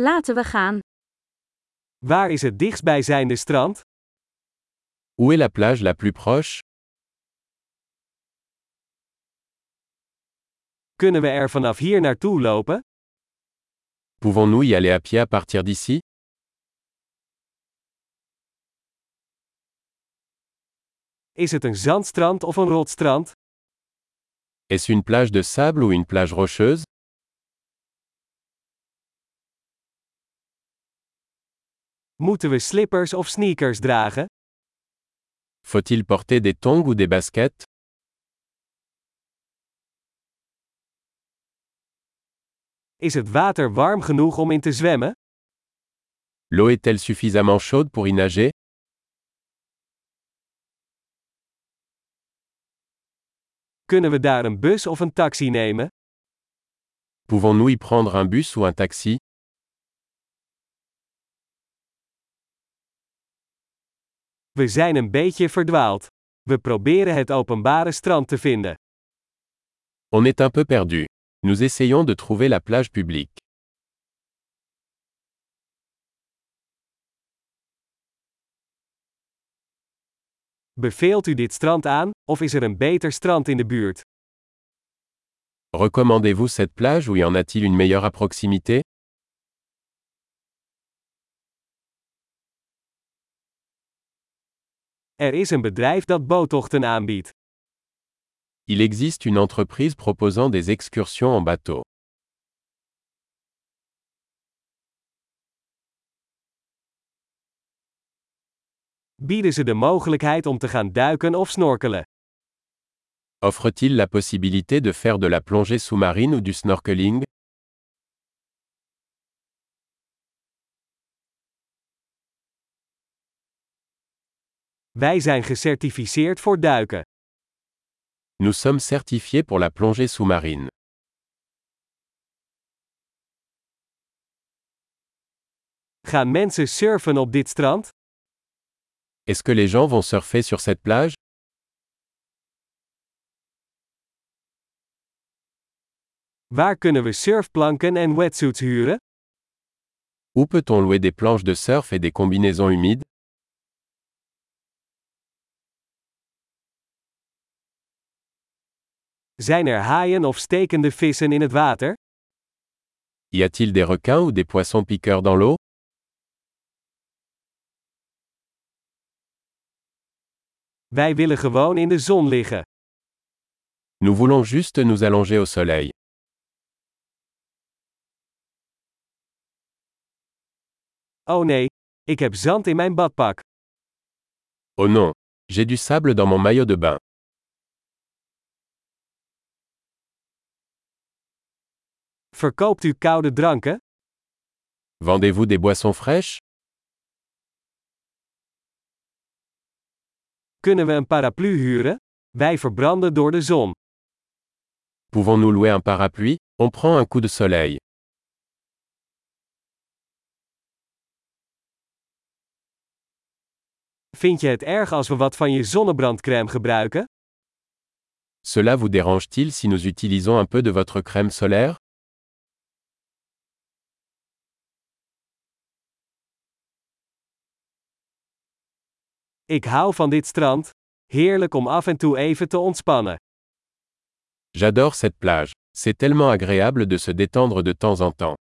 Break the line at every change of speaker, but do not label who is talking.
Laten we gaan.
Waar is het dichtstbijzijnde strand?
Où est la plage la plus proche
Kunnen we er vanaf hier naartoe lopen?
Pouvons-nous y aller à pied à partir d'ici
Is het een zandstrand of een rotstrand?
Est-ce une plage de sable ou une plage rocheuse
Moeten we slippers of sneakers dragen?
Faut-il porter des tongs ou des baskets
Is het water warm genoeg om in te zwemmen?
L'eau est-elle suffisamment chaude pour y nager
Kunnen we daar een bus of een taxi nemen?
Pouvons-nous y prendre un bus ou un taxi
We zijn een beetje verdwaald. We proberen het openbare strand te vinden.
On est un peu perdu. Nous essayons de trouver la plage publique.
Beveelt u dit strand aan, of is er een beter strand in de buurt?
Recommandez-vous cette plage ou y en a-t-il une meilleure à proximité
Er is een bedrijf dat boottochten aanbiedt.
Il existe une entreprise proposant des excursions en bateau.
Bieden ze de mogelijkheid om te gaan duiken of snorkelen?
Offre-t-il la possibilité de faire de la plongée sous-marine ou du snorkeling
Wij zijn gecertificeerd voor duiken.
Nous sommes certifiés pour la plongée sous-marine.
Gaan mensen surfen op dit strand?
Est-ce que les gens vont surfer sur cette plage
Waar kunnen we surfplanken en wetsuits huren?
Où peut-on louer des planches de surf et des combinaisons humides
Zijn er haaien of stekende vissen in het water?
Y a-t-il des requins ou des poissons piqueurs dans l'eau
Wij willen gewoon in de zon liggen.
Nous voulons juste nous allonger au soleil.
Oh nee, ik heb zand in mijn badpak.
Oh non, j'ai du sable dans mon maillot de bain.
Verkoopt u koude dranken?
Vendez-vous des boissons fraîches
Kunnen we een paraplu huren? Wij verbranden door de zon.
Pouvons-nous louer un parapluie On prend un coup de soleil.
Vind je het erg als we wat van je zonnebrandcrème gebruiken?
Cela vous dérange-t-il si nous utilisons un peu de votre crème solaire
Ik hou van dit strand. Heerlijk om af en toe even te ontspannen.
J'adore cette plage. C'est tellement agréable de se détendre de temps en temps.